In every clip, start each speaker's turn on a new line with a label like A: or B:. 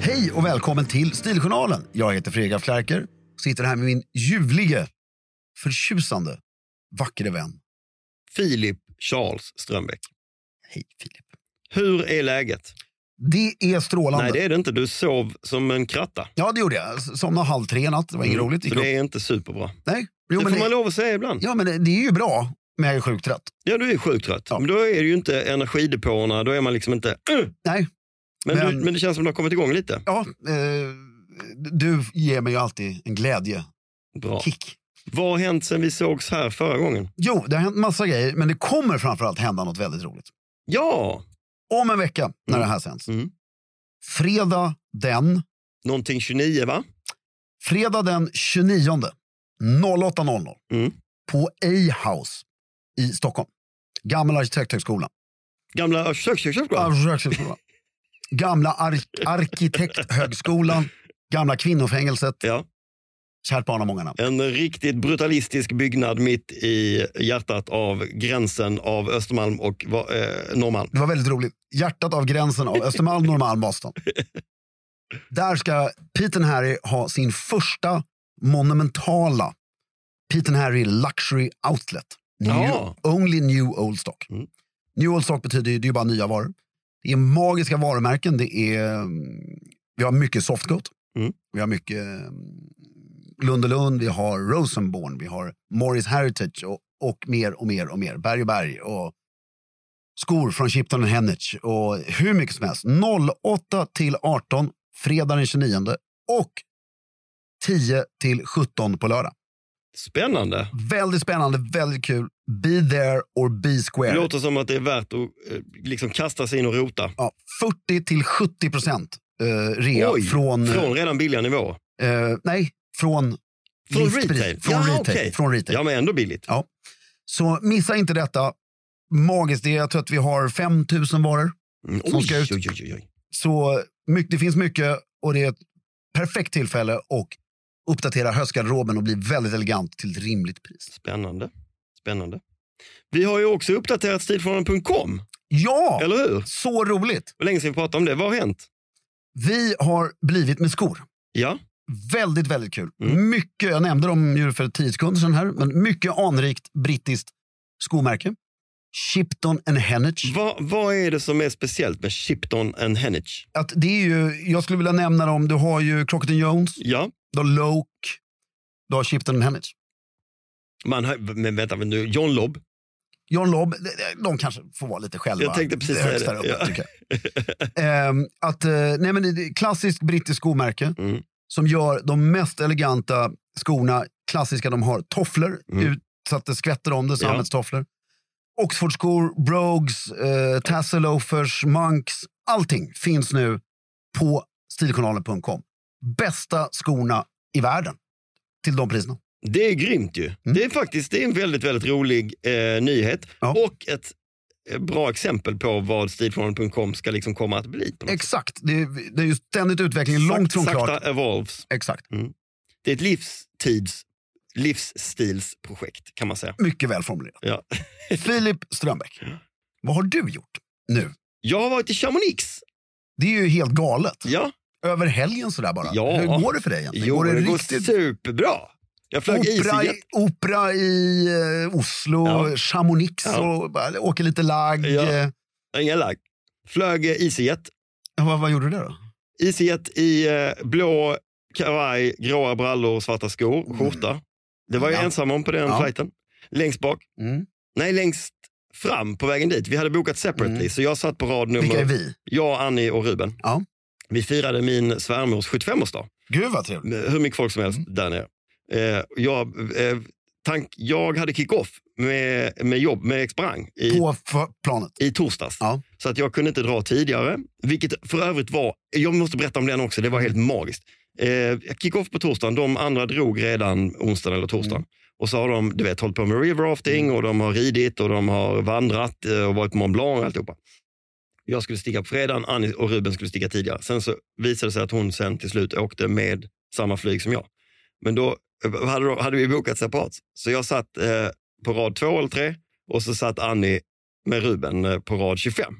A: Hej och välkommen till Stiljournalen. Jag heter Fredrik af Klerker och sitter här med min ljuvlige, förtjusande, vackre vän.
B: Filip Charles Strömbäck.
A: Hej Filip.
B: Hur är läget?
A: Det är strålande.
B: Nej, det är det inte. Du sov som en kratta.
A: Ja, det gjorde jag. Somnade halv tre i natt. Det var inget roligt.
B: Mm. Så
A: Gick
B: det
A: upp.
B: är inte superbra.
A: Nej. Jo,
B: det
A: men
B: får man
A: det,
B: lov att säga ibland. Ja,
A: ja, men det, det är ju bra, men jag är sjukt trött.
B: du är sjukt trött.
A: Ja.
B: Men då är det ju inte energidepåerna. Då är man liksom inte... "Ugh!"
A: Nej,
B: Men,
A: Men-
B: Du, men det känns som du har kommit igång lite.
A: ja. Eh, du ger mig ju alltid en glädjekick.
B: Bra. Vad har hänt sen vi sågs här förra gången?
A: Jo, det har hänt massa grejer, men det kommer framförallt hända något väldigt roligt.
B: Ja,
A: Om en vecka, när det här sänds.
B: Mm.
A: Fredag den
B: någonting 29 va?
A: Fredag den 29 08.00
B: Mm.
A: på A-house i Stockholm. Gamla arkitekthögskolan.
B: Gamla Arkitekthögskolan?
A: Arkitekthögskolan. Gamla ar- arkitekthögskolan. Gamla kvinnofängelset.
B: Ja,
A: Kärt barn har många namn.
B: en riktigt brutalistisk byggnad mitt i hjärtat av gränsen av Östermalm och va- eh, Norrmalm.
A: Det var väldigt roligt. Hjärtat av gränsen av Östermalm, Norrmalm, Boston. Där ska Pete and Harry ha sin första monumentala Pete and Harry Luxury Outlet. New,
B: Ja.
A: Only new old stock.
B: Mm.
A: New old stock betyder ju, det är ju bara nya varor. Det är magiska varumärken. Det är, mm, vi har mycket softcoat.
B: Mm.
A: Vi har mycket mm, Lund och Lund, vi har Rosenborn, vi har Morris Heritage och, och mer och mer och mer. Berg och berg. Och skor från Chipton och Henich och hur mycket som helst. 08 till 18 fredag den 29 och 10 till 17 på lördag.
B: Spännande.
A: Väldigt spännande, väldigt kul. Be there or be
B: Det
A: square.
B: låter som att det är värt att eh, liksom kasta sig in och rota.
A: Ja, 40 till 70 procent eh, rea
B: Oj,
A: från...
B: Från redan billiga nivåer.
A: Eh, nej, från...
B: Från
A: listpris.
B: retail?
A: Från
B: Ja,
A: retail.
B: okej.
A: Från retail.
B: Ja, men ändå billigt.
A: Så missa inte detta. Magiskt. Det är, jag tror att vi har 5 000 varor.
B: Mm,
A: Som ska ut.
B: Oj, oj, oj, oj.
A: Så mycket, det finns mycket och det är ett perfekt tillfälle att uppdatera höstgarderoben och bli väldigt elegant till ett rimligt pris.
B: Spännande. Spännande. Vi har ju också uppdaterat stilförhållanden.com,
A: Ja,
B: eller hur?
A: så roligt!
B: Hur länge sedan vi pratade om det. Vad har hänt?
A: Vi har blivit med skor.
B: Ja,
A: Väldigt, väldigt kul.
B: Mm.
A: Mycket, jag nämnde dem ju för tio sekunder sedan här, men mycket anrikt brittiskt skomärke. Shipton and Henich.
B: Va, vad är det som är speciellt med Shipton and Henich?
A: Att det är ju, jag skulle vilja nämna dem. Du har ju Crockett and Jones,
B: Ja,
A: du har Loke, du har Shipton and Henich.
B: man har, men vänta men nu, John Lobb.
A: John Lobb, de- de kanske får vara lite själva.
B: Jag tänkte precis säga
A: högst
B: det,
A: där uppe,
B: ja.
A: tycker jag. Ehm, att, eh, nej, men det är ett klassiskt brittiskt skomärke
B: Mm.
A: som gör de mest eleganta skorna klassiska. De har tofflor
B: Mm.
A: ut så att det skvätter om det,
B: Ja.
A: sammetstofflor. Oxfordskor, brogues, eh, tassel loafers, monks. Allting finns nu på stiljournalen.com. Bästa skorna i världen till de priserna.
B: Det är grymt
A: Mm.
B: ju. Det är faktiskt det är en väldigt, väldigt rolig eh, nyhet
A: Ja.
B: och ett eh, bra exempel på vad stiljournalen.com ska liksom komma att bli. På något sätt.
A: Exakt, det är, det är ju ständigt utveckling, långt från
B: sakta
A: klart.
B: evolves.
A: Exakt.
B: Det är ett livstids, livsstilsprojekt kan man säga.
A: Mycket väl formulerat.
B: Ja.
A: Filip Strömbäck, vad har du gjort nu?
B: Jag har varit i Chamonix.
A: Det är ju helt galet.
B: Ja.
A: Över helgen sådär bara.
B: Ja.
A: Hur går det för dig egentligen?
B: Jo,
A: går det,
B: det går
A: riktigt
B: superbra. Jag flög
A: opera
B: EasyJet.
A: i, opera i eh, Oslo,
B: Ja.
A: Chamonix
B: Ja.
A: och bara, åker lite lagg.
B: Ja.
A: Eh,
B: Inga lagg. Flög eh, EasyJet.
A: vad, vad gjorde du där då?
B: EasyJet i eh, blå kavaj, gråa brallor, och svarta skor, skjorta. Det var jag
A: Mm. Ja.
B: ensam om på den
A: Ja.
B: flighten. Längst bak.
A: Mm.
B: Nej, längst fram på vägen dit. Vi hade bokat separately,
A: Mm.
B: så jag satt på rad
A: Vilka är
B: nummer...
A: vi?
B: Jag, Annie och Ruben.
A: Ja.
B: Vi firade min svärmors 75-årsdag.
A: Gud vad trevligt.
B: med hur mycket folk som helst där nere. Eh, jag, eh, tank, jag hade kick-off med, med jobb, med Exprang i,
A: På f- planet.
B: i torsdags.
A: Ja.
B: Så att jag kunde inte dra tidigare. Vilket för övrigt var, jag måste berätta om den också, det var helt magiskt. Eh, kick-off på torsdagen, de andra drog redan onsdagen eller torsdagen. Och så har de du vet, hållit på med river rafting och de har ridit och de har vandrat eh, och varit på Mont Blanc och alltihopa. Jag skulle sticka på fredagen, Annie och Ruben skulle sticka tidigare. Sen så visade det sig att hon sen till slut åkte med samma flyg som jag. Men då eh, hade, de, hade vi bokat separat. Så jag satt eh, på rad två eller tre och så satt Annie med Ruben eh, på rad 25.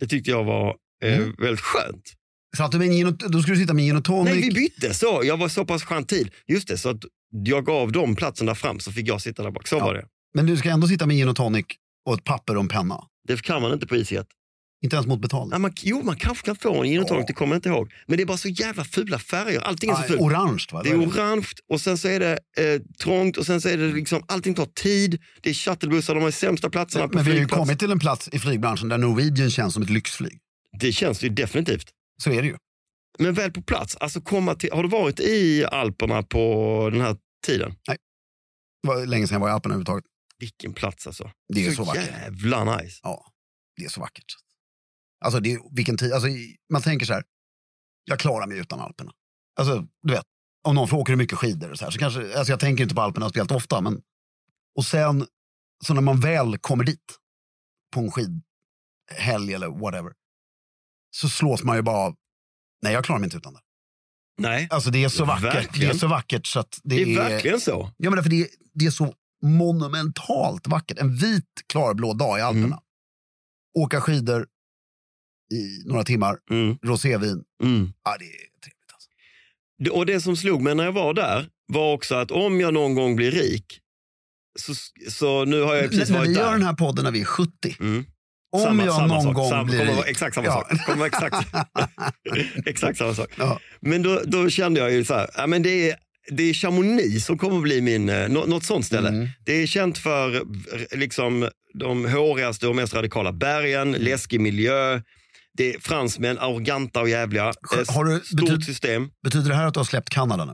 B: Det tyckte jag var eh,
A: Mm.
B: väldigt skönt.
A: Satt du med en gin och, då skulle du sitta med en gin och tonic.
B: Nej, vi bytte. så. Jag var så pass skön tid. Just det, så att jag gav dem platsen där fram så fick jag sitta där bak. Så
A: Ja.
B: var det.
A: Men du ska ändå sitta med en gin och tonic och ett papper och en penna.
B: Det kan man inte på EasyJet.
A: Inte ens mot betalning.
B: Nej, man, jo, man kanske kan få en gin och tonic, det kommer jag inte ihåg. Men det är bara så jävla fula färger. Allting är så
A: Ah,
B: fult.
A: Orange va?
B: Det är orange och sen så är det eh, trångt och sen så är det liksom, allting tar tid. Det är shuttlebussar, de har de sämsta platserna
A: Men
B: på
A: vi har ju
B: flygplatsen.
A: kommit till en plats i flygbranschen där Norwegian känns som ett lyxflyg.
B: Det känns ju definitivt.
A: Så är det ju.
B: Men väl på plats, alltså komma till, har du varit i Alperna på den här tiden?
A: Det var länge sedan jag var i Alperna överhuvudtaget.
B: Vilken plats alltså.
A: Det är så vackert.
B: jävla nice.
A: Ja, det är så vackert. Alltså, det är, vilken tid. Alltså, i- man tänker så här, jag klarar mig utan Alperna. Alltså, du vet, om någon frågar åker du mycket skidor och så här, så kanske, alltså jag tänker inte på Alperna speciellt ofta, men och sen, så när man väl kommer dit på en skidhelg eller whatever, så slås man ju bara av, nej jag klarar mig inte utan det.
B: Nej,
A: Alltså det är så vackert,
B: Verkligen.
A: det är så vackert så att det,
B: det är verkligen så.
A: Ja, men därför det, är- det är så monumentalt vackert. En vit klarblå dag i Alperna.
B: Mm.
A: Åka skidor i några timmar,
B: Mm.
A: rosévin.
B: Mm.
A: Ja, det är trevligt. Alltså.
B: Det- Och det som slog mig när jag var där var också att om jag någon gång blir rik, så, så nu har jag ju precis
A: När- när vi
B: varit
A: gör
B: där.
A: den här podden när vi är 70,
B: Mm.
A: om
B: samma,
A: jag
B: samma
A: någon
B: sak.
A: gång
B: samma,
A: blir
B: kommer, vara
A: rik.
B: Exakt samma
A: Ja.
B: sak. Kommer vara exakt, exakt samma sak.
A: Ja.
B: Men då, då kände jag ju så här, ja, men det, är, det är Chamonix som kommer bli min, eh, nå- något sånt ställe.
A: Mm.
B: Det är känt för eh, liksom, de hårigaste och mest radikala bergen,
A: Mm.
B: läskig miljö, det är fransmän, arroganta och jävliga.
A: Skö-
B: Eh,
A: har du-
B: Stort
A: betyd-
B: system.
A: Betyder det här att du har släppt Kanada nu?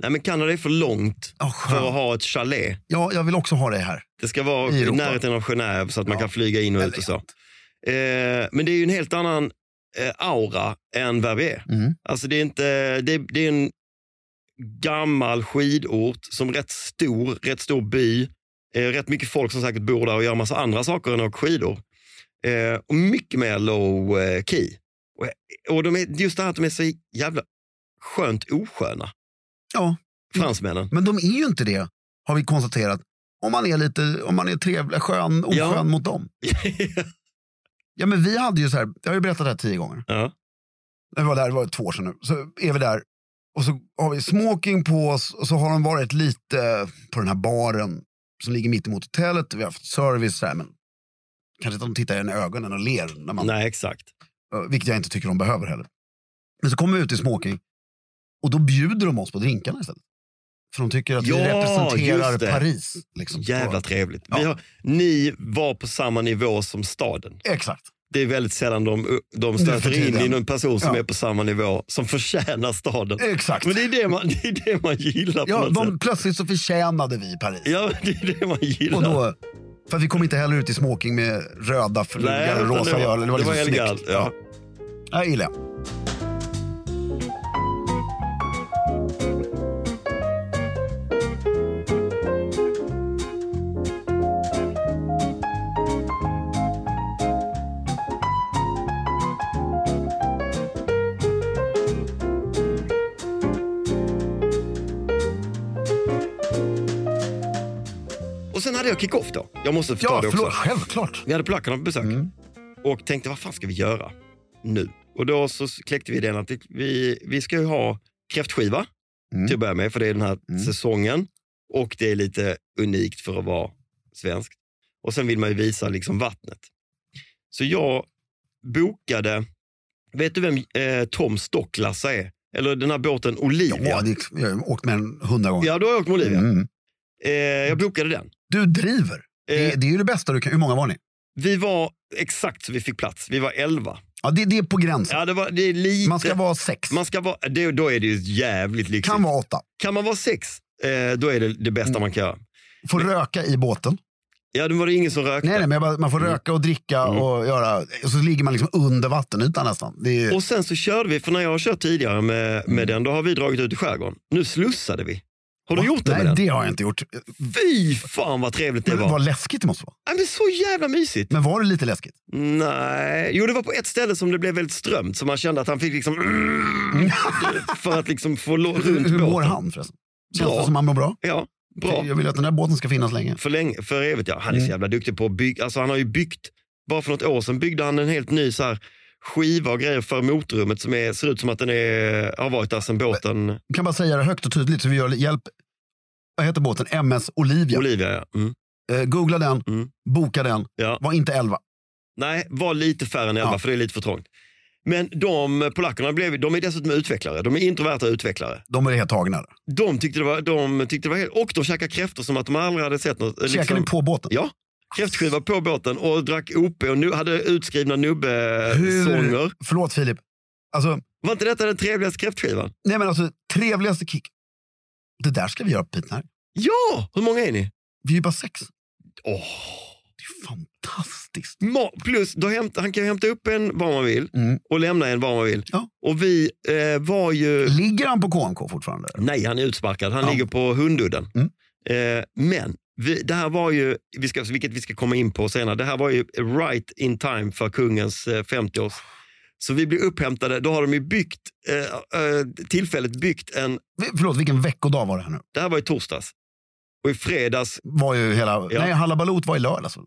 B: Nej, men Kanada är för långt
A: Ja,
B: för att
A: skönt.
B: ha ett chalet.
A: Ja, jag vill också ha det här.
B: Det ska vara
A: I
B: i,
A: Europa.
B: närheten av Genève så att man
A: Ja.
B: kan flyga in och ut och så. Eh, men det är ju en helt annan eh, aura än vad vi är.
A: Mm.
B: Alltså det är, inte, det, det är en gammal skidort som rätt stor, rätt stor by. Eh, rätt mycket folk som säkert bor där och gör massa andra saker än att åka skidor. Eh, och mycket mer low eh, key. Och, och de är, just det här att de är så jävla skönt osköna,
A: Ja,
B: fransmännen.
A: men de är ju inte det, har vi konstaterat. Om man är lite, om man är trevlig, skön, oskön
B: Ja.
A: mot dem. Ja, men vi hade ju så här, jag har ju berättat det här tio gånger.
B: ja.
A: när vi var där, det var två år sedan nu, så är vi där och så har vi smoking på oss och så har de varit lite på den här baren som ligger mitt emot hotellet. Vi har haft service så här, men Kanske inte att de tittar en i ögonen och ler, när man,
C: Nej, exakt.
A: eh, vilket jag inte tycker de behöver heller. Men så kommer vi ut i smoking och då bjuder de oss på drinkarna istället. För de tycker att vi
B: Ja,
A: representerar
B: just det.
A: Paris. Liksom.
B: Jävla trevligt. Vi
A: Ja.
B: har, ni var på samma nivå som staden.
A: Exakt.
B: Det är väldigt sällan de, de
A: Nu för
B: stöter in
A: tiden.
B: i någon person som
A: Ja.
B: är på samma nivå, som förtjänar staden.
A: Exakt.
B: Men det är det man, det är det man gillar på
A: ja,
B: något sätt.
A: de, plötsligt så förtjänade vi Paris.
B: Ja, det är det man gillar.
A: Och då, för att vi kom inte heller ut i smoking med röda flugor och
B: utan
A: rosa öl. Det var, liksom
B: Ellegaard,
A: snyggt.
B: ja.
A: Ja, jag gillar jag.
B: Och sen hade jag kick-off då. Jag måste förklara
A: Ja,
B: det också.
A: förlåt. Självklart.
B: Vi hade plackarna på besök
A: Mm.
B: och tänkte, vad fan ska vi göra nu? Och då så kläckte vi den att vi, vi ska ju ha kräftskiva
A: Mm.
B: till att börja med, för det är den här
A: Mm.
B: säsongen och det är lite unikt för att vara svenskt. Och sen vill man ju visa liksom vattnet. Så jag bokade, vet du vem eh, Tom Stocklassa är? Eller den här båten Olivia?
A: Ja, det, liksom- jag har åkt med den hundra gånger.
B: Ja, du har jag åkt med Olivia.
A: Mm.
B: Eh, jag bokade den.
A: Du driver. Det,
B: Eh,
A: det är ju det bästa du kan. Hur många var ni?
B: vi var exakt så vi fick plats. Vi var elva.
A: Ja, det, det är på gränsen.
B: Ja, det, var, det är lite...
A: Man ska vara sex.
B: Man ska vara, det, då är det ju jävligt lyxigt.
A: Kan vara Mm. åtta.
B: Kan man vara sex, eh, då är det det bästa man kan göra.
A: Får röka i båten.
B: Ja, det var det ingen som rökte.
A: Nej, nej, men jag bara, man
B: Mm.
A: får röka och dricka och göra. Och så ligger man liksom under vattenytan nästan. Det är,
B: Och sen så körde vi, för när jag har kört tidigare med,
A: Mm.
B: med den, då har vi dragit ut i skärgården. Nu slussade vi. Har du gjort det
A: nej,
B: med den?
A: det har jag inte gjort.
B: Fy fan vad trevligt det
A: Men
B: var.
A: vad läskigt det måste vara.
B: Nej, men så jävla mysigt.
A: Men var det lite läskigt?
B: Nej, jo det var på ett ställe som det blev väldigt strömt så man kände att han fick liksom
A: Mm.
B: för att liksom få lo-
A: Hur,
B: runt
A: hur mår
B: båten.
A: han förresten? Känns
B: Bra.
A: det som han mår bra?
B: Ja, bra.
A: Jag vill att den där båten ska finnas länge.
B: för, länge, för evigt. Ja. Han är så jävla duktig på att bygga. Alltså, han har ju byggt, bara för något år sedan byggde han en helt ny så här, skiva och grejer för motorrummet som är, ser ut som att den är, har varit där sedan båten
A: Jag kan bara säga det högt och tydligt så vi gör hjälp. Vad heter båten? MS Olivia.
B: Olivia. Ja. Mm.
A: eh, googla den,
B: Mm.
A: boka den.
B: Ja.
A: Var inte 11.
B: Nej, var lite färre än elva
A: Ja.
B: för det är lite för trångt. Men de polackerna blev, de är dessutom utvecklare. De är introverta utvecklare.
A: De är helt tagna. där.
B: De tyckte det var, de tyckte det var helt, och de käkade kräftor som att de aldrig hade sett något. eh,
A: Käkar ni på båten?
B: Ja. Kräftskiva på båten och drack OP och nu hade utskrivna nubbesånger.
A: Förlåt Filip. Alltså,
B: Var inte detta den trevligaste kräftskivan?
A: nej men alltså, trevligaste kick. Det där ska vi göra på Pete Nine.
B: Ja! Hur många är ni?
A: Vi är ju bara sex.
B: Åh.
A: Det är fantastiskt.
B: Ma- Plus, då hämt, han kan ju hämta upp en var man vill
A: Mm.
B: och lämna en var man vill.
A: Ja.
B: Och vi eh, var ju...
A: Ligger han på KMK fortfarande?
B: Nej, han är utsparkad. Han
A: Ja.
B: ligger på hundudden.
A: Mm.
B: Eh, men vi, det här var ju, vi ska, vilket vi ska komma in på senare, det här var ju right in time för kungens eh, 50-års. Så vi blir upphämtade. Då har de ju byggt, eh, eh, tillfälligt byggt en...
A: Vi- Förlåt, vilken veckodag var det här nu?
B: Det här var i torsdags. Och i fredags...
A: Var ju hela,
B: Ja.
A: Nej, Hallabaloo var i lördags. väl?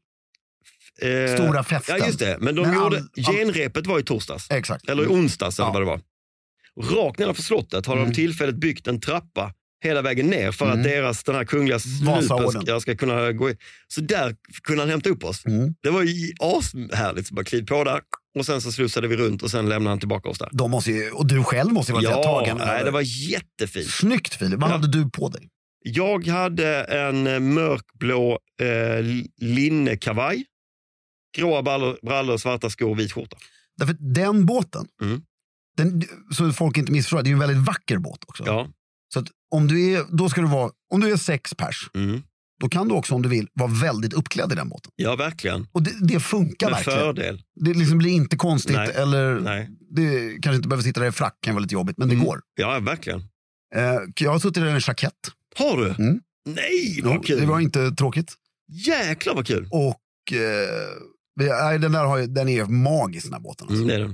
B: eh,
A: Stora festen.
B: Ja, just det. Men de
A: Men all-
B: gjorde...
A: all-
B: genrepet var i torsdags.
A: Exakt.
B: eller i onsdags eller
A: Mm. Ja.
B: vad det var. Och Rakt nedanför slottet har de
A: Mm.
B: tillfälligt byggt en trappa hela vägen ner för att
A: Mm.
B: deras, den här kungliga snupen
A: Vasaorden.
B: ska, ska kunna gå in. Så där kunde han hämta upp oss.
A: Mm.
B: Det var ju ashärligt. Så bara kliv på där och sen så slussade vi runt och sen lämnade han tillbaka oss där.
A: De måste ju, och du själv måste ju vara helt
B: Ja,
A: tagen.
B: nej, det var jättefint.
A: Snyggt Filip. Vad
B: Ja.
A: hade du på dig?
B: Jag hade en eh, mörkblå eh, linnekavaj, gråa brallor, brallor, svarta skor, vit skjorta.
A: Därför att den båten,
B: Mm.
A: den, så folk inte missförstår, det är ju en väldigt vacker båt också.
B: Ja.
A: Så att om, du är, då ska du vara, om du är sex pers,
B: Mm.
A: då kan du också om du vill vara väldigt uppklädd i den båten.
B: ja, verkligen.
A: Och det, det funkar
B: Med
A: verkligen.
B: fördel.
A: Det liksom blir inte konstigt
B: Nej,
A: eller
B: Nej.
A: det kanske inte behöver sitta där i frack, kan vara lite jobbigt, men det
B: Mm.
A: går.
B: Ja, verkligen.
A: Eh, jag har suttit där i en jackett.
B: Har du?
A: Mm.
B: Nej, vad kul.
A: Det var inte tråkigt.
B: Jäklar vad kul.
A: Och eh, vi- nej, den där har, ju- den är magisk den här båten. Alltså.
B: Mm, det är det.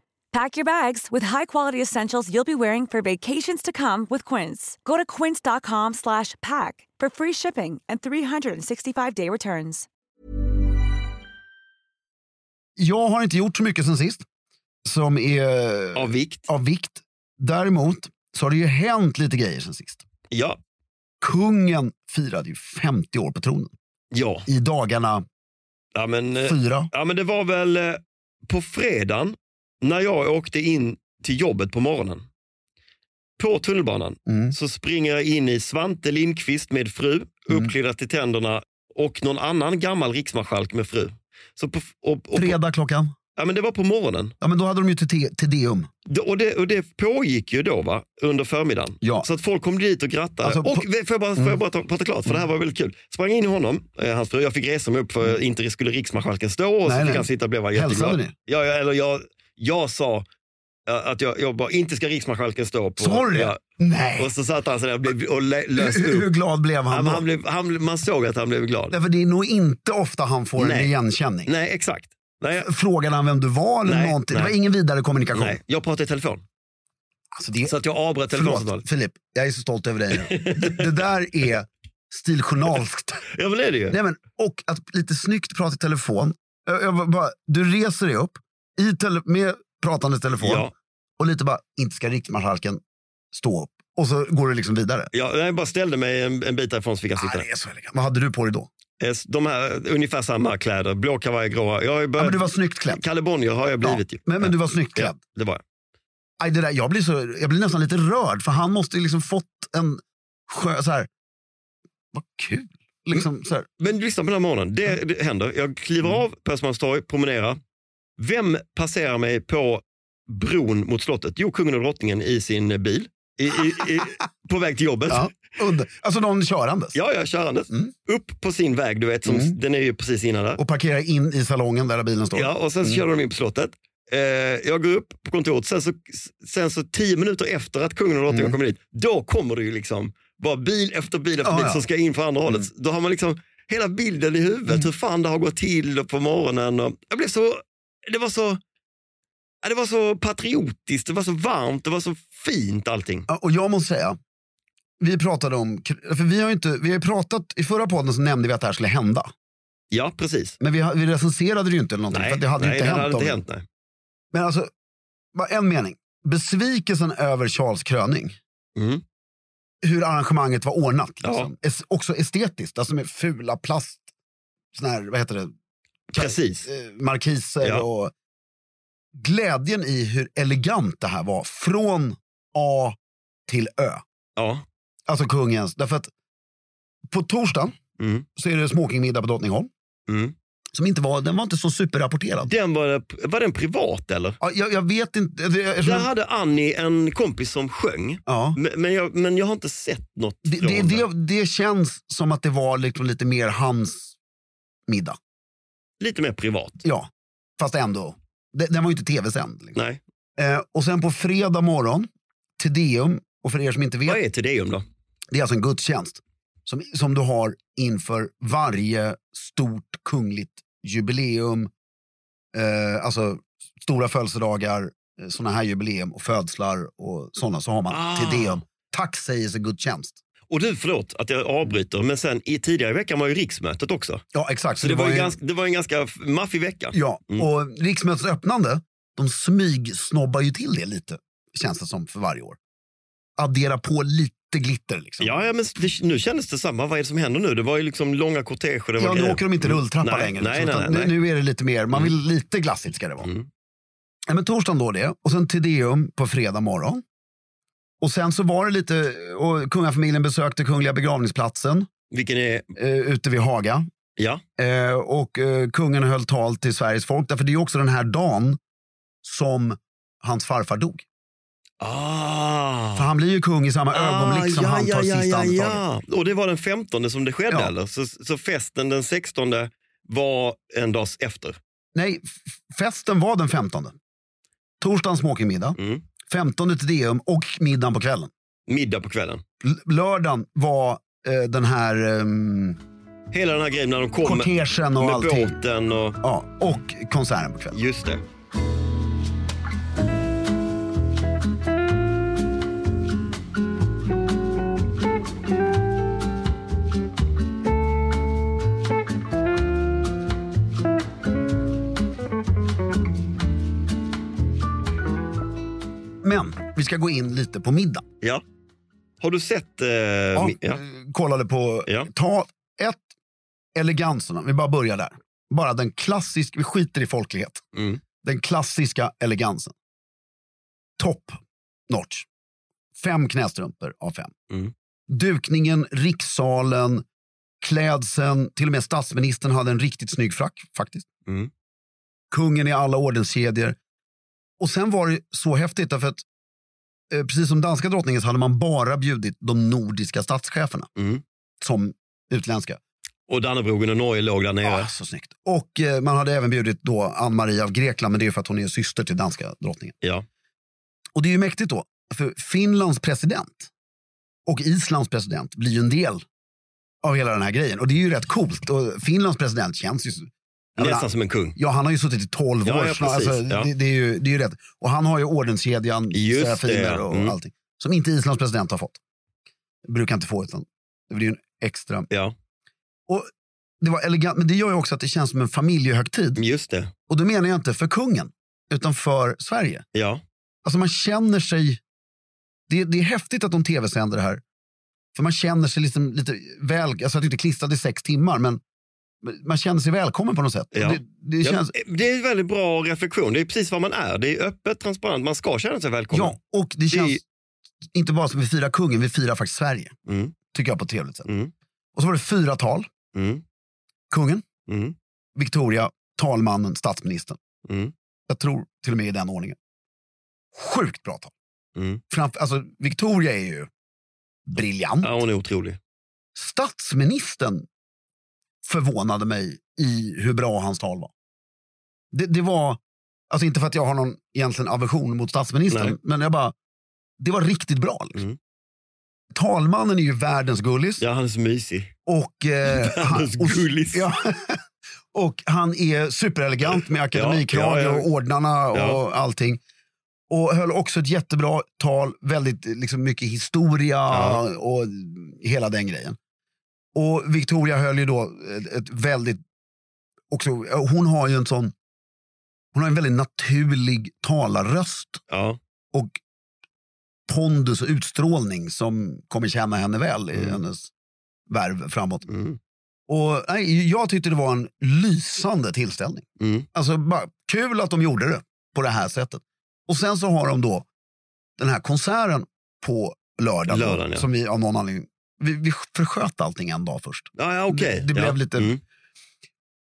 D: Pack your bags with high-quality essentials you'll be wearing for vacations to come with Quince. Go to quince.com slash pack for free shipping and 365-day returns.
A: Jag har inte gjort så mycket sen sist som är
B: Av vikt.
A: av vikt. Däremot så har det ju hänt lite grejer sen sist.
B: Ja.
A: Kungen firade ju 50 år på tronen
B: Ja.
A: i dagarna
B: ja men, eh,
A: fyra.
B: Ja, men det var väl eh, på fredagen när jag åkte in till jobbet på morgonen. På tunnelbanan
A: Mm.
B: så springer jag in i Svante Lindqvist med fru,
A: Mm.
B: uppklädda till tänderna och någon annan gammal riksmarskalk med fru. Så på, och, och, på,
A: Fredag klockan.
B: ja, men det var på morgonen.
A: Ja, men då hade de ju till, te- till Deum.
B: Det- Och det, och det pågick ju då va? under förmiddagen.
A: Ja.
B: Så att folk kom dit och grattade.
A: Alltså,
B: och
A: på-
B: vä- får jag bara, får jag bara ta, prata klart, för det här var väldigt kul. Sprang in i honom, eh, hans fru. Jag fick resa mig upp för inte skulle riksmarskalken stå och så
A: Nej,
B: fick
A: nej.
B: han sitta och blev jätteglad.
A: Hälsade ni?
B: Ja, ja, eller jag, jag sa ja, att jag, jag bara, inte ska riksmarskalken stå på...
A: Sa du det?
B: Ja.
A: Nej.
B: Och så satt han sådär och, blev, och lä- löste
A: Hur, hur
B: upp.
A: glad blev
B: Ja,
A: han
B: men
A: då?
B: han blev, han, blev- man såg att han blev glad.
A: Därför det är nog inte ofta han får en
B: Nej.
A: igenkänning.
B: Nej, exakt. Nej,
A: Frågade han vem du var eller
B: Nej,
A: någonting? Det
B: nej.
A: var ingen vidare kommunikation.
B: nej, jag pratade i telefon.
A: Alltså det är,
B: Så att jag avbröt telefonsamtalet.
A: förlåt, Filip. Jag är så stolt över dig nu. det, det där är stiljournalskt.
B: Ja, men det är det ju.
A: Nej, men, och att lite snyggt prata i telefon. Jag, jag, bara, du reser dig upp i tele, med pratande telefon
B: Ja.
A: och lite bara, inte ska riksmarskalken stå upp. Och så går du liksom vidare.
B: Ja, jag bara ställde mig en, en bit därifrån så fick jag
A: Ah,
B: sitta.
A: det är så elegant. Vad hade du på dig då?
B: Eh, De här, ungefär samma kläder, blå kavaj, gråa. Jag har ju
A: Ja, men
B: börjat,
A: du var snyggt klädd.
B: Kalle Bonnier har jag blivit
A: ja,
B: ju.
A: men, men du var snyggt
B: ja,
A: klädd.
B: det var jag.
A: Aj, det där, jag, blir så, jag blir nästan lite rörd, för han måste ju liksom fått en skö... Så här, vad kul! Liksom, så här,
B: Men lyssna på den här morgonen,
A: Mm.
B: det, det händer. Jag kliver av på Östermalmstorg, promenerar. Vem passerar mig på bron mot slottet? Jo, kungen och drottningen i sin bil. I, i, i, på väg till jobbet.
A: ja, under, alltså någon körandes.
B: Ja, ja, körandes.
A: Mm.
B: Upp på sin väg, du vet, som,
A: Mm.
B: den är ju precis innan där.
A: Och parkerar in i salongen där bilen står.
B: Ja, och sen så körde de in på slottet. Eh, jag går upp på kontoret, sen så, sen så tio minuter efter att kungen och
A: Mm.
B: drottningen kommer dit, då kommer det ju liksom bara bil efter bil efter
A: Ja,
B: bil
A: Ah, ja. Mm.
B: som ska in från andra hållet. Då har man liksom hela bilden i huvudet, hur fan det har gått till och på morgonen. Och jag blev så, det var så, ja, det var så patriotiskt, det var så varmt, det var så fint allting.
A: Ja, Och jag måste säga, vi pratade om... För vi har ju inte, vi har ju pratat, I förra podden så nämnde vi att det här skulle hända.
B: Ja, precis.
A: Men vi, ha- vi recenserade det ju inte eller någonting, för
B: Nej,
A: att det hade ju
B: nej,
A: inte
B: det
A: hänt.
B: hade
A: om-
B: inte hänt nej.
A: Men alltså, bara en mening. Besvikelsen över Charles kröning.
B: Mm.
A: hur arrangemanget var ordnat. Liksom.
B: Ja.
A: Es- också estetiskt, alltså med fula plast, sån här, vad heter det,
B: Precis.
A: eh, markiser
B: Ja.
A: och glädjen i hur elegant det här var från A till Ö.
B: Ja.
A: Alltså kungens, därför att på torsdagen
B: Mm.
A: så är det smokingmiddag på Drottningholm.
B: Mm.
A: Som inte var, den var inte så superrapporterad.
B: Den var, var den privat eller?
A: Ja, jag, jag vet inte. Jag, jag,
B: Där
A: jag,
B: hade Annie en kompis som sjöng.
A: ja.
B: Men, men, jag, men jag har inte sett något
A: det,
B: från
A: det,
B: den.
A: det, det känns som att det var liksom lite mer hans middag.
B: Lite mer privat.
A: Ja, fast ändå. Den, den var ju inte tv-sänd. Liksom.
B: Nej.
A: Eh, och sen på fredag morgon, Tedeum, och för er som inte vet,
B: Vad är Tedeum då?
A: det är alltså en gudstjänst som, som du har inför varje stort kungligt jubileum, eh, alltså stora födelsedagar, eh, sådana här jubileum och födslar och sådana, så har man
B: Ah.
A: Tedeum. Tack sägs gudstjänst.
B: Och du, förlåt att jag avbryter, men sen i tidigare i veckan var ju riksmötet också.
A: Ja, exakt.
B: Så det, var ju ganska, det var en ganska f- maffig vecka.
A: Ja,
B: Mm.
A: och riksmötets öppnande, de smygsnobbar ju till det lite, känns det som, för varje år. Addera på lite glitter liksom.
B: Ja, ja men det, nu kändes det samma. Vad är det som händer nu? Det var ju liksom långa korteger. Det var
A: Ja, nu
B: grejer. Mm.
A: åker de inte rulltrappa
B: nej,
A: längre.
B: Nej,
A: liksom,
B: nej,
A: utan
B: nej.
A: Nu, nu är det lite mer, man vill lite glassigt ska det vara.
B: Mm.
A: Ja, men torsdagen då det, och sen Tedeum på fredag morgon. Och sen så var det lite, och kungafamiljen besökte kungliga begravningsplatsen
B: Vilken är...
A: eh, ute vid Haga.
B: Ja,
A: Eh, och eh, kungen höll tal till Sveriges folk, därför det är ju också den här dagen som hans farfar dog.
B: Ah.
A: För han blir ju kung i samma ögonblick som
B: ja,
A: han tar
B: Ah, ja, ja,
A: sista
B: ja,
A: andetaget.
B: ja. Och det var den 15 som det skedde
A: Ja.
B: eller? Så, så festen den 16 var en dags efter.
A: Nej, f- festen var den 15. Torsdagen smockingmiddag,
B: Mm.
A: 15 till DM och middagen på kvällen.
B: Middag på kvällen.
A: L- lördagen var eh, den här ehm,
B: Hela den här grejen när de kom med,
A: kortegen och
B: med
A: allting.
B: båten och...
A: Ja, och konserten på kvällen.
B: Just det.
A: Men vi ska gå in lite på middag.
B: Ja. Har du sett... Eh,
A: Ja,
B: mi- ja.
A: eh, Kollade på,
B: Ja.
A: ta ett, eleganserna. Vi bara börjar där. Bara den klassiska, vi skiter i folklighet.
B: Mm.
A: Den klassiska elegansen. Topp notch. Fem knästrumpor av fem.
B: Mm.
A: Dukningen, rikssalen, klädseln. Till och med statsministern hade en riktigt snygg frack faktiskt.
B: Mm.
A: Kungen i alla ordenskedjor. Och sen var det så häftigt därför att eh, precis som danska drottningen så hade man bara bjudit de nordiska statscheferna
B: Mm.
A: som utländska.
B: Och Dannebrogen och Norge låg där nere.
A: Ah, så snyggt. Och eh, man hade även bjudit då Ann Marie av Grekland, men det är ju för att hon är syster till danska drottningen.
B: Ja.
A: Och det är ju mäktigt då, för Finlands president och Islands president blir ju en del av hela den här grejen. Och det är ju rätt coolt. Och Finlands president känns ju... Jag menar,
B: Nästan som en kung.
A: Ja, han har ju suttit i 12
B: Ja,
A: år.
B: ja,
A: snart.
B: precis. Ja.
A: det, det, är ju, det är ju rätt. Och han har ju ordenskedjan,
B: Just
A: serafiner
B: det,
A: och
B: mm.
A: allting. Som inte Islands president har fått. Brukar inte få utan det blir ju en extra.
B: Ja,
A: Det var elegant, men det gör ju också att det känns som en familjehögtid.
B: just det.
A: Och då menar jag inte för kungen, utan för Sverige.
B: Ja.
A: Alltså man känner sig... Det, det är häftigt att de tv-sänder det här. För man känner sig liksom lite väl... Alltså att det inte klistrade i sex timmar, men man känner sig välkommen på något sätt.
B: Ja.
A: Det, det
B: Ja, eh,
A: känns...
B: Det är en väldigt bra reflektion. Det är precis vad man är. Det är öppet, transparent. Man ska känna sig välkommen.
A: Ja, och det känns
B: Det-
A: inte bara som vi firar kungen, vi firar faktiskt Sverige.
B: Mm,
A: Tycker jag på ett trevligt sätt.
B: Mm.
A: Och så var det fyra tal.
B: mm,
A: Kungen,
B: mm,
A: Victoria, talmannen, statsministern.
B: mm,
A: Jag tror till och med i den ordningen. Sjukt bra tal.
B: mm.
A: Framför, alltså, Victoria är ju briljant.
B: Ja, hon är otrolig.
A: Statsministern förvånade mig i hur bra hans tal var. Det, det var, alltså inte för att jag har någon egentligen aversion mot statsministern,
B: Nej.
A: men jag bara, det var riktigt bra. Liksom.
B: Mm.
A: Talmannen är ju världens gullis.
B: Ja, han är så mysig.
A: Och, eh, han,
B: Världens
A: och,
B: gullis.
A: ja, och han är superelegant med akademikrage
B: ja, ja.
A: och ordnarna och
B: Ja.
A: allting. Och höll också ett jättebra tal, väldigt liksom, mycket historia
B: Ja.
A: och hela den grejen. Och Victoria höll ju då ett, ett väldigt, också, hon har ju en sån, hon har en väldigt naturlig talarröst
B: Ja,
A: och pondus och utstrålning som kommer tjäna henne väl i
B: Mm.
A: hennes värv framåt.
B: mm,
A: Och, nej, jag tyckte det var en lysande tillställning.
B: mm,
A: Alltså bara kul att de gjorde det på det här sättet. Och sen så har de då den här konserten på lördagen. då,
B: Lördagen, ja.
A: Som vi av någon anledning, vi, vi försköt allting en dag först.
B: ja, ja okej.
A: Det- det blev
B: ja.
A: lite-
B: Mm.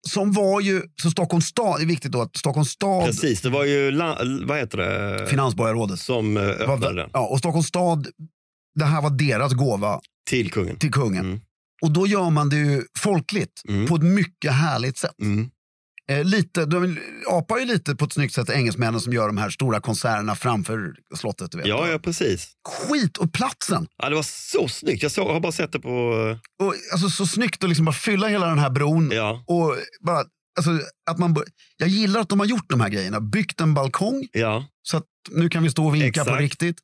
A: Som var ju, så Stockholms stad, det är viktigt då att Stockholms stad,
B: Precis, det var ju, la, vad heter det,
A: finansborgarrådet,
B: som eh,
A: var,
B: öppnade den
A: ja, och Stockholms stad, det här var deras gåva
B: till kungen.
A: till kungen.
B: Mm.
A: Och då gör man det ju folkligt
B: Mm.
A: på ett mycket härligt sätt.
B: Mm.
A: Eh, lite, de apar ju lite på ett snyggt sätt engelsmännen som gör de här stora konserterna framför slottet. Du vet.
B: Ja, ja, precis.
A: Skit och platsen!
B: Ja, det var så snyggt. Jag, såg, jag har bara sett det på... eh,
A: Och, alltså, så snyggt att liksom bara fylla hela den här bron.
B: Ja,
A: Och bara, alltså, att man bör... Jag gillar att de har gjort de här grejerna. Byggt en balkong
B: ja,
A: så att nu kan vi stå och vinka på
B: Exakt.
A: riktigt.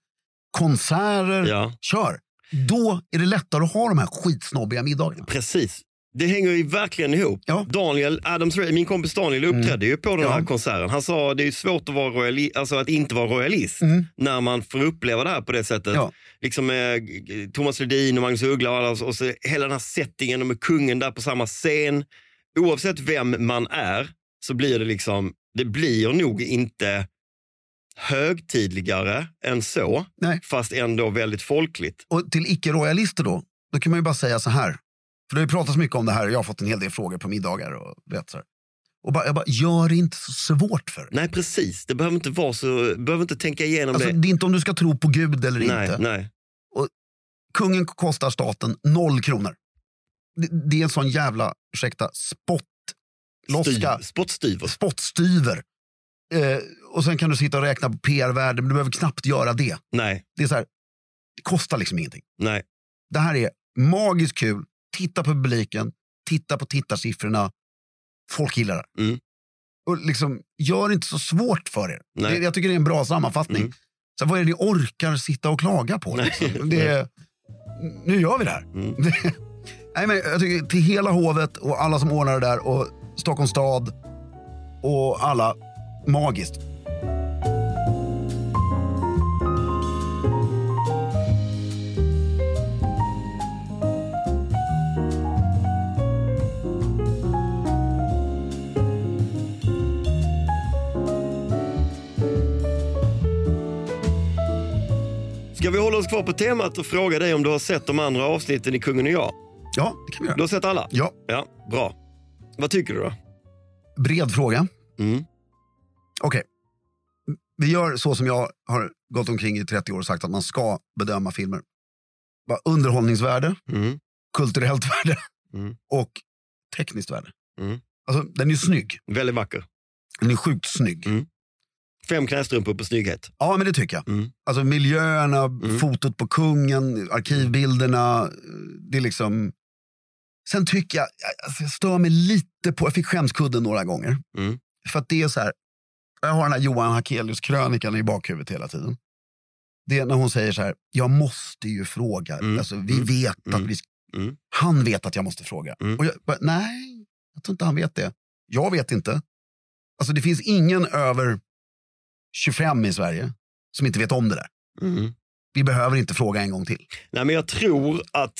A: Konserter,
B: ja.
A: kör! Då är det lättare att ha de här skitsnobbiga middagarna.
B: Precis. Det hänger ju verkligen ihop.
A: Ja. Mm.
B: Daniel Adams, min kompis Daniel uppträdde ju på den
A: Ja.
B: här konserten. Han sa det är ju svårt att, vara royali- alltså att inte vara royalist
A: Mm.
B: när man får uppleva det här på det sättet.
A: Ja.
B: Liksom med Thomas Ledin och Magnus Uggla och, alla, och så hela den här settingen och med kungen där på samma scen. Oavsett vem man är så blir det liksom, det blir nog inte högtidligare än så,
A: Nej.
B: fast ändå väldigt folkligt.
A: Och till icke-royalister då, då kan man ju bara säga så här. För det har ju pratats mycket om det här och jag har fått en hel del frågor på middagar. Och vet så här. Och bara, jag bara, gör det inte så svårt för dig.
B: Nej, precis. Det behöver inte vara så, behöver inte tänka igenom
A: Alltså,
B: det.
A: det är inte om du ska tro på Gud eller
B: Nej,
A: inte.
B: nej.
A: Kungen kostar staten noll kronor. Det, det är en sån jävla, ursäkta, spottloska,
B: Styv, spottstyver.
A: spottstyver. Eh, och sen kan du sitta och räkna på PR-värden, men du behöver knappt göra det.
B: Nej,
A: Det är så här, det kostar liksom ingenting.
B: nej.
A: Det här är magiskt kul. Titta på publiken, titta på tittarsiffrorna. Folk gillar det.
B: Mm.
A: Och liksom, gör det inte så svårt för er.
B: Nej.
A: Det, jag tycker det är en bra sammanfattning.
B: Mm.
A: Så vad är det ni orkar sitta och klaga på?
B: Nej.
A: Liksom? Det är, nu gör vi det här.
B: Mm.
A: Nej, men jag tycker till hela hovet och alla som ordnar det där och Stockholms stad och alla, magiskt.
B: Ska vi hålla oss kvar på temat och fråga dig om du har sett de andra avsnitten i Kungen och jag?
A: Ja, det kan vi
B: Du
A: göra.
B: har sett alla?
A: Ja,
B: Ja, bra. Vad tycker du då?
A: bred fråga.
B: Mm.
A: Okej. Vi gör så som jag har gått omkring i 30 år och sagt att man ska bedöma filmer. Bara Underhållningsvärde,
B: Mm.
A: kulturellt värde
B: Mm.
A: och tekniskt värde.
B: Mm.
A: Alltså, den är ju snygg.
B: Väldigt vacker.
A: Den är sjukt snygg.
B: Mm. Fem knästrumpor på snygghet.
A: Ja, men det tycker jag.
B: Mm.
A: Alltså miljöerna, fotot på kungen, arkivbilderna. eh, Det är liksom... Sen tycker jag, alltså, jag stör mig lite på, jag fick skämskudden några gånger.
B: Mm.
A: För att det är så här, jag har den här Johan Hakelius-krönikan i bakhuvudet hela tiden. Det är när hon säger så här, jag måste ju fråga.
B: Mm.
A: Alltså, vi
B: Mm.
A: vet att
B: Mm.
A: vi,
B: Mm.
A: han vet att jag måste fråga.
B: Mm.
A: Och jag, bara, nej, jag tror inte han vet det. Jag vet inte. Alltså det finns ingen över 25 i Sverige som inte vet om det där.
B: Mm.
A: Vi behöver inte fråga en gång till.
B: Nej, men jag tror att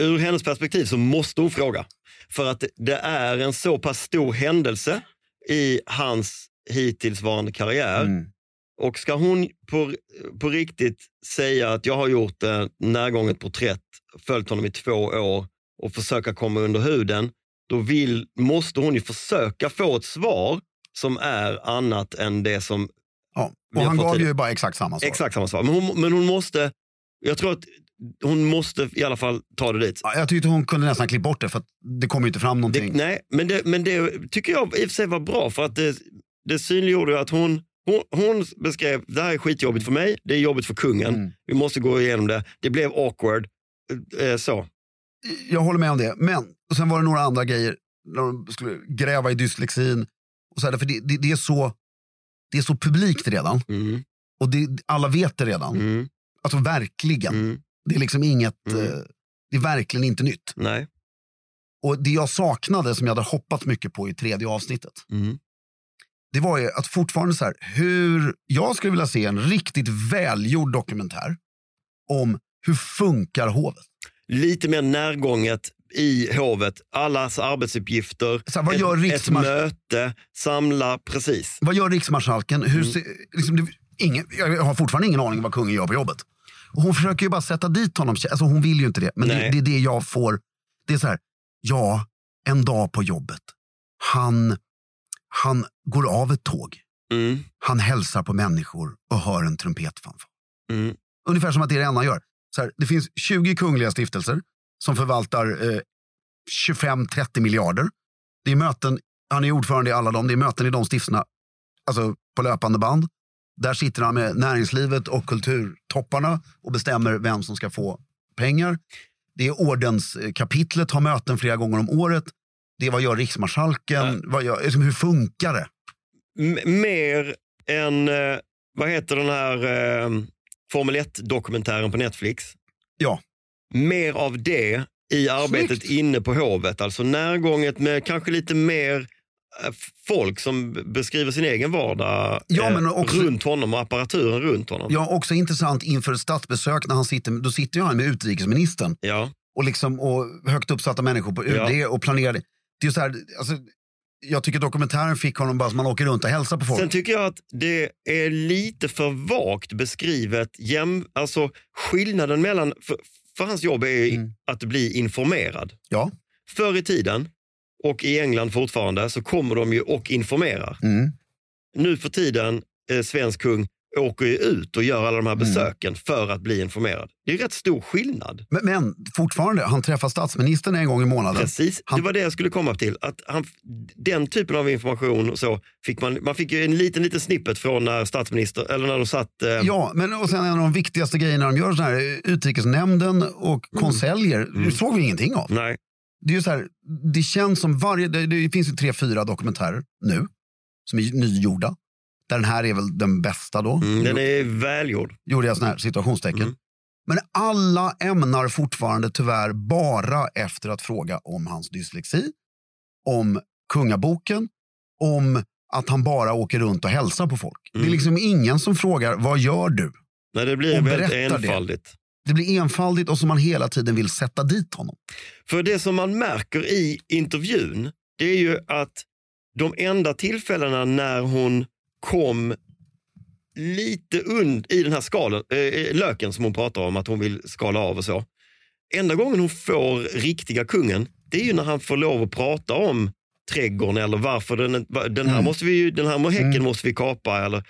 B: ur hennes perspektiv så måste hon fråga. För att det är en så pass stor händelse i hans hittillsvarande karriär.
A: Mm.
B: Och ska hon på, på riktigt säga att jag har gjort ett närgånget porträtt, följt honom i två år och försöka komma under huden, då vill, måste hon ju försöka få ett svar som är annat än det som...
A: Ja.
B: Vi
A: Och
B: har
A: han
B: fått
A: gav
B: till-
A: ju bara exakt samma svar.
B: Exakt samma svar. Men hon, men hon måste... Jag tror att hon måste i alla fall ta det dit.
A: Ja, jag tyckte hon kunde nästan klippa bort det för att det kom ju inte fram
B: Det,
A: någonting.
B: nej, men det, men det tycker jag i och för sig var bra för att det, det synliggjorde ju att hon, hon, hon beskrev det här är skitjobbigt för mig, det är jobbigt för kungen.
A: Mm.
B: Vi måste gå igenom det. Det blev awkward. Eh, så.
A: Jag håller med om det. Men och sen var det några andra grejer. När de skulle gräva i dyslexin. Och så här, för det, det, det, är så, det är så publikt redan.
B: Mm,
A: Och det, alla vet det redan.
B: mm,
A: Alltså verkligen.
B: mm,
A: Det är liksom inget,
B: Mm.
A: eh, det är verkligen inte nytt.
B: nej.
A: Och det jag saknade som jag hade hoppats mycket på i tredje avsnittet.
B: Mm,
A: det var ju att fortfarande så här, hur jag skulle vilja se en riktigt välgjord dokumentär om hur funkar hovet?
B: Lite mer närgånget i hovet. Allas arbetsuppgifter.
A: Så här, vad gör
B: ett, ett
A: riksmars-
B: möte. Samla, precis.
A: Vad gör riksmarskalken? Hur ser, liksom, det, ingen, jag har fortfarande ingen aning om vad kungen gör på jobbet. Och hon försöker ju bara sätta dit honom. Alltså, hon vill ju inte det, men det,
B: Nej.
A: det är det jag får. Det är så här, ja, en dag på jobbet. Han, han går av ett tåg.
B: Mm,
A: Han hälsar på människor och hör en trumpetfanfar.
B: mm,
A: Ungefär som att det är det enda han gör. Så här, det finns 20 kungliga stiftelser som förvaltar eh, 25-30 miljarder. Det är möten, han är ordförande i alla dem, det är möten i de stiftelserna alltså på löpande band. Där sitter han med näringslivet och kulturtopparna och bestämmer vem som ska få pengar. Det är ordenskapitlet, har möten flera gånger om året. Det är vad gör riksmarskalken? Vad gör, liksom, hur funkar det?
B: M- mer än, eh, vad heter den här eh, Formel 1-dokumentären på Netflix?
A: Ja.
B: Mer av det i arbetet inne på hovet. Alltså närgånget med kanske lite mer eh, folk som b- beskriver sin egen vardag
A: Ja,
B: eh,
A: men också-
B: runt honom och apparaturen runt honom.
A: Ja, också intressant inför ett statsbesök när han sitter, då sitter ju han med utrikesministern.
B: Ja.
A: och, liksom, och högt uppsatta människor på UD och planerade. Det är ju så här, alltså, jag tycker dokumentären fick honom bara som man åker runt och hälsar på folk.
B: Sen tycker jag att det är lite för vagt beskrivet. Jäm, alltså skillnaden mellan... För, för hans jobb är ju
A: Mm.
B: att bli informerad.
A: Ja,
B: Förr i tiden och i England fortfarande så kommer de ju och informerar.
E: Mm.
B: Nu för tiden, eh, svensk kung åker ju ut och gör alla
A: Mm.
B: de här besöken för att bli informerad. Det är ju rätt stor skillnad.
A: Men, men fortfarande, han träffar statsministern en gång i månaden.
B: Precis,
A: Han-
B: det var det jag skulle komma till. Att han, den typen av information och så fick man, man fick ju en liten, liten snippet från när statsminister, eller när de satt... eh,
A: Ja, men och sen en av de viktigaste grejerna de gör, sån här, eh, utrikesnämnden och
B: Mm.
A: konseljer, det såg vi ingenting av.
B: Nej,
A: Det, är ju så här, det känns som varje, det, det finns ju tre, fyra dokumentärer nu som är nygjorda. Där den här är väl den bästa då.
B: mm, den är välgjord.
A: Gjorde jag sån här situationstecken.
B: Mm.
A: Men alla ämnar fortfarande tyvärr bara efter att fråga om hans dyslexi, om kungaboken, om att han bara åker runt och hälsar på folk. Det är
B: Mm.
A: liksom ingen som frågar, vad gör du?
B: Nej, det blir
A: Och
B: väldigt
A: berättar det.
B: enfaldigt.
A: Det blir enfaldigt och som man hela tiden vill sätta dit honom.
B: För det som man märker i intervjun, det är ju att de enda tillfällena när hon kom lite und i den här skalen, eh, löken som hon pratar om att hon vill skala av och så. Enda gången hon får riktiga kungen, det är ju när han får lov att prata om trädgården eller varför den, va- den här,
A: Mm.
B: måste vi, ju- den här häcken måste vi kapa. Eller,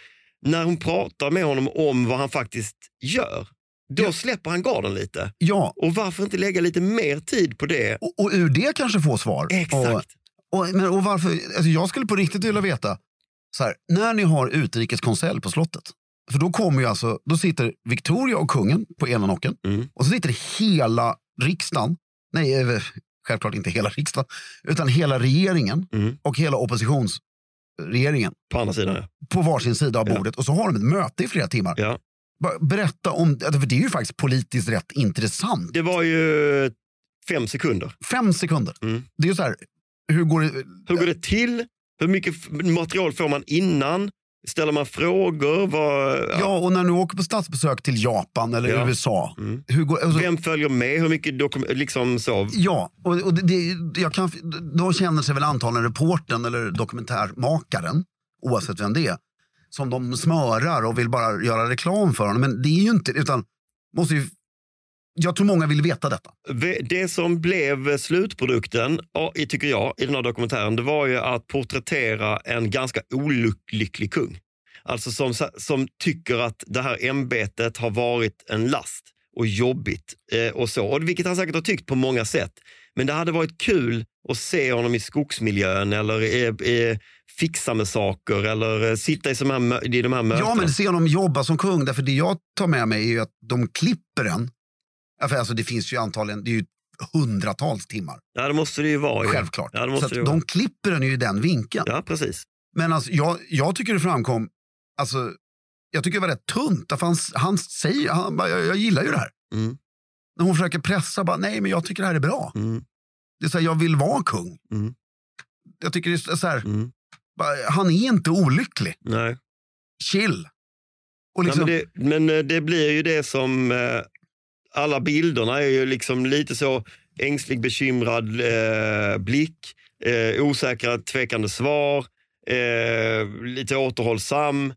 B: när hon pratar med honom om vad han faktiskt gör, då släpper han garden lite.
A: Ja,
B: Och varför inte lägga lite mer tid på det?
A: och, och ur det kanske få svar. Och,
B: Exakt.
A: och, men, och varför, alltså jag skulle på riktigt vilja veta, så här, när ni har utrikeskonselj på slottet, för då kommer ju alltså, då sitter Victoria och kungen på ena nocken
B: Mm.
A: och så sitter hela riksdagen, nej eh, självklart inte hela riksdagen, utan hela regeringen
B: Mm.
A: och hela oppositionsregeringen
B: På andra sidan, ja.
A: på varsin sida av
B: Ja.
A: bordet och så har de ett möte i flera timmar.
B: ja.
A: Bara Berätta om, för det är ju faktiskt politiskt rätt intressant.
B: Det var ju fem sekunder.
A: Fem sekunder.
B: Mm.
A: Det är ju så här, hur går det?
B: Hur går det till? Hur mycket f- material får man innan? Ställer man frågor? Vad, ja.
A: Ja, och när du åker på statsbesök till Japan eller
B: Ja.
A: USA.
B: Mm.
A: Hur går, alltså,
B: Vem följer med? Hur mycket dokum- liksom så?
A: Ja, och, och det, det, jag kan, då känner sig väl antagligen reportern eller dokumentärmakaren, oavsett vem det är, som de smörar och vill bara göra reklam för honom. Men det är ju inte, utan måste ju, jag tror många vill veta detta.
B: Ve- Det som blev slutprodukten, ja, i- tycker jag, i den här dokumentären, det var ju att porträttera en ganska olycklig kung. Alltså som, sa- som tycker att det här ämbetet har varit en last och jobbigt eh, och så. Och vilket han säkert har tyckt på många sätt. Men det hade varit kul att se honom i skogsmiljön eller eh, eh, fixa med saker eller eh, sitta i, såna här, mö- i de här mötena.
A: Ja, men se honom jobba som kung, därför det jag tar med mig är ju att de klipper den. Ja, för Alltså, det finns ju antagligen, det är ju hundratals timmar,
B: ja, det måste det ju vara. ju.
A: självklart.
B: Ja, det
A: Så
B: måste
A: att
B: det ju vara.
A: de klipper den ju i den vinkeln.
B: Ja, precis.
A: Men alltså, jag, jag tycker det framkom, alltså, jag tycker det var rätt tunt. Därför han, han säger, han, bara, jag, jag gillar ju det här.
B: Mm.
A: När hon försöker pressa, bara, nej men jag tycker det här är bra.
B: Mm,
A: Det är så här, jag vill vara kung.
B: Mm.
A: Jag tycker det är så här,
B: mm,
A: bara, han är inte olycklig.
B: nej.
A: Chill. Och liksom,
B: Nej, men, det, men eh, det blir ju det som... eh, Alla bilderna är ju liksom lite så ängslig, bekymrad eh, blick, eh, osäkra, tvekande svar, eh, lite återhållsam.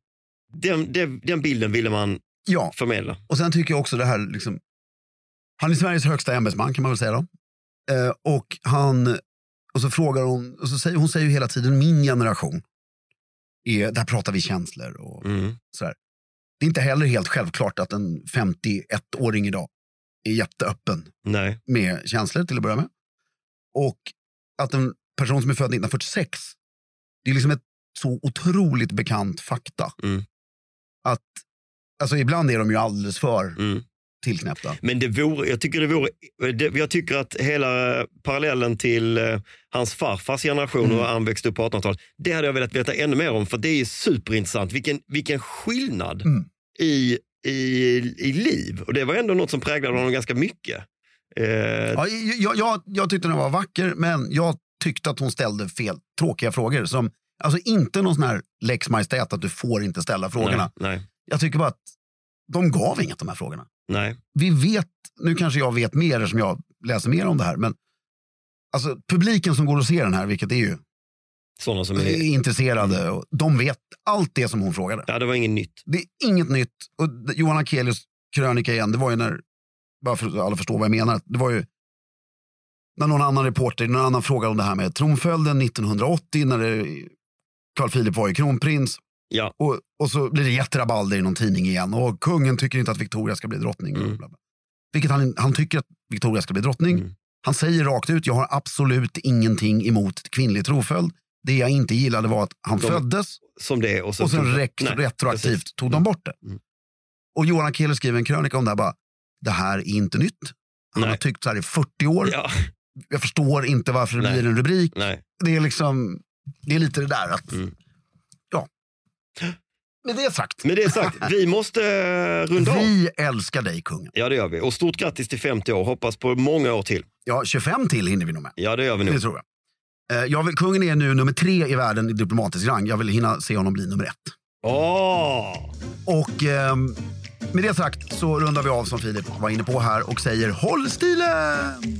B: Den, den, den bilden ville man
A: ja.
B: förmedla.
A: Och sen tycker jag också det här, liksom, han är Sveriges högsta ämbetsman kan man väl säga då. Eh, och, han, och så frågar hon, och så säger, hon säger ju hela tiden min generation. Är, där pratar vi känslor och
B: Mm.
A: sådär. Det är inte heller helt självklart att en 51-åring idag är jätteöppen
B: Nej.
A: med känslor till att börja med. Och att en person som är född 1946, det är liksom ett så otroligt bekant fakta.
B: Mm.
A: Att alltså ibland är de ju alldeles för
B: Mm.
A: tillknäppta.
B: Men det vore, jag tycker det vore, det, jag tycker att hela eh, parallellen till eh, hans farfars generation och
A: Mm.
B: han växte upp på 1800-talet, det hade jag velat veta ännu mer om för det är superintressant. Vilken, vilken skillnad
A: Mm.
B: i, i, i liv. Och det var ändå något som präglade honom ganska mycket. Eh,
A: Ja, jag, jag, jag tyckte den var vacker, men jag tyckte att hon ställde fel tråkiga frågor. Som, alltså inte någon sån här lex majestät att du får inte ställa frågorna.
B: Nej, nej,
A: Jag tycker bara att de gav inget de här frågorna.
B: nej.
A: Vi vet, nu kanske jag vet mer som jag läser mer om det här, men alltså publiken som går och ser den här, vilket är ju
B: Sådana som
A: är
B: är...
A: intresserade, och de vet allt det som hon frågade.
B: Ja, det var inget nytt.
A: Det är inget nytt. Och d- Johan Akelius krönika igen, det var ju när, bara för att alla förstår vad jag menar, det var ju när någon annan reporter, någon annan frågade om det här med tronföljden 1980 när det- Carl Philip var ju kronprins.
B: Ja.
A: Och, och så blir det jätterabalder i någon tidning igen. Och kungen tycker inte att Victoria ska bli drottning.
B: Mm.
A: Bla, bla. Vilket han, han tycker att Victoria ska bli drottning.
B: Mm.
A: Han säger rakt ut, jag har absolut ingenting emot kvinnlig troföljd. Det jag inte gillade var att han
B: De-
A: föddes
B: Som det är. Och sen,
A: och sen
B: tog-
A: rekt-
B: Nej,
A: retroaktivt
B: precis.
A: tog de bort det.
B: Mm.
A: Och Johan Akelius skriver en krönika om det här. Bara, det här är inte nytt. Han
B: Nej.
A: har tyckt så här i 40 år.
B: Ja,
A: Jag förstår inte varför det
B: Nej.
A: blir en rubrik.
B: nej.
A: Det är liksom, det är lite det där att,
B: Mm.
A: ja. Med det sagt,
B: Med det sagt, vi måste eh, runda av.
A: vi älskar dig kungen.
B: Ja, det gör vi. Och stort grattis till 50 år. Hoppas på många år till.
A: Ja, 25 till hinner vi nog med.
B: Ja, det gör vi nog.
A: Det tror jag. Eh, Jag vill, kungen är nu nummer tre i världen i diplomatisk rang. Jag vill hinna se honom bli nummer ett.
B: Åh!
A: Och ehm, med det sagt så rundar vi av som Filip var inne på här och säger håll stilen!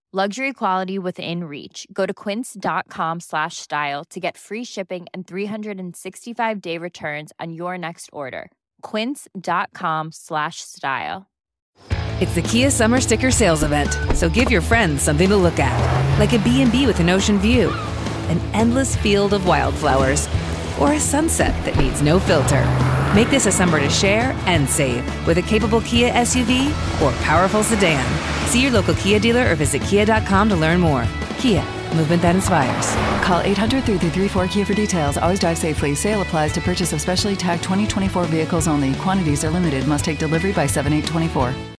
E: Luxury quality within reach. Go to quince.com slash style to get free shipping and 365 day returns on your next order. Quince.com slash style.
F: It's the Kia Summer Sticker Sales Event, so give your friends something to look at, like a B&B with an ocean view, an endless field of wildflowers, or a sunset that needs no filter. Make this a summer to share and save with a capable Kia SUV or powerful sedan. See your local Kia dealer or visit kia.com to learn more. Kia, movement that inspires.
G: Call 800 334 Kia for details. Always drive safely. Sale applies to purchase of specially tagged 2024 vehicles only. Quantities are limited. Must take delivery by 7824.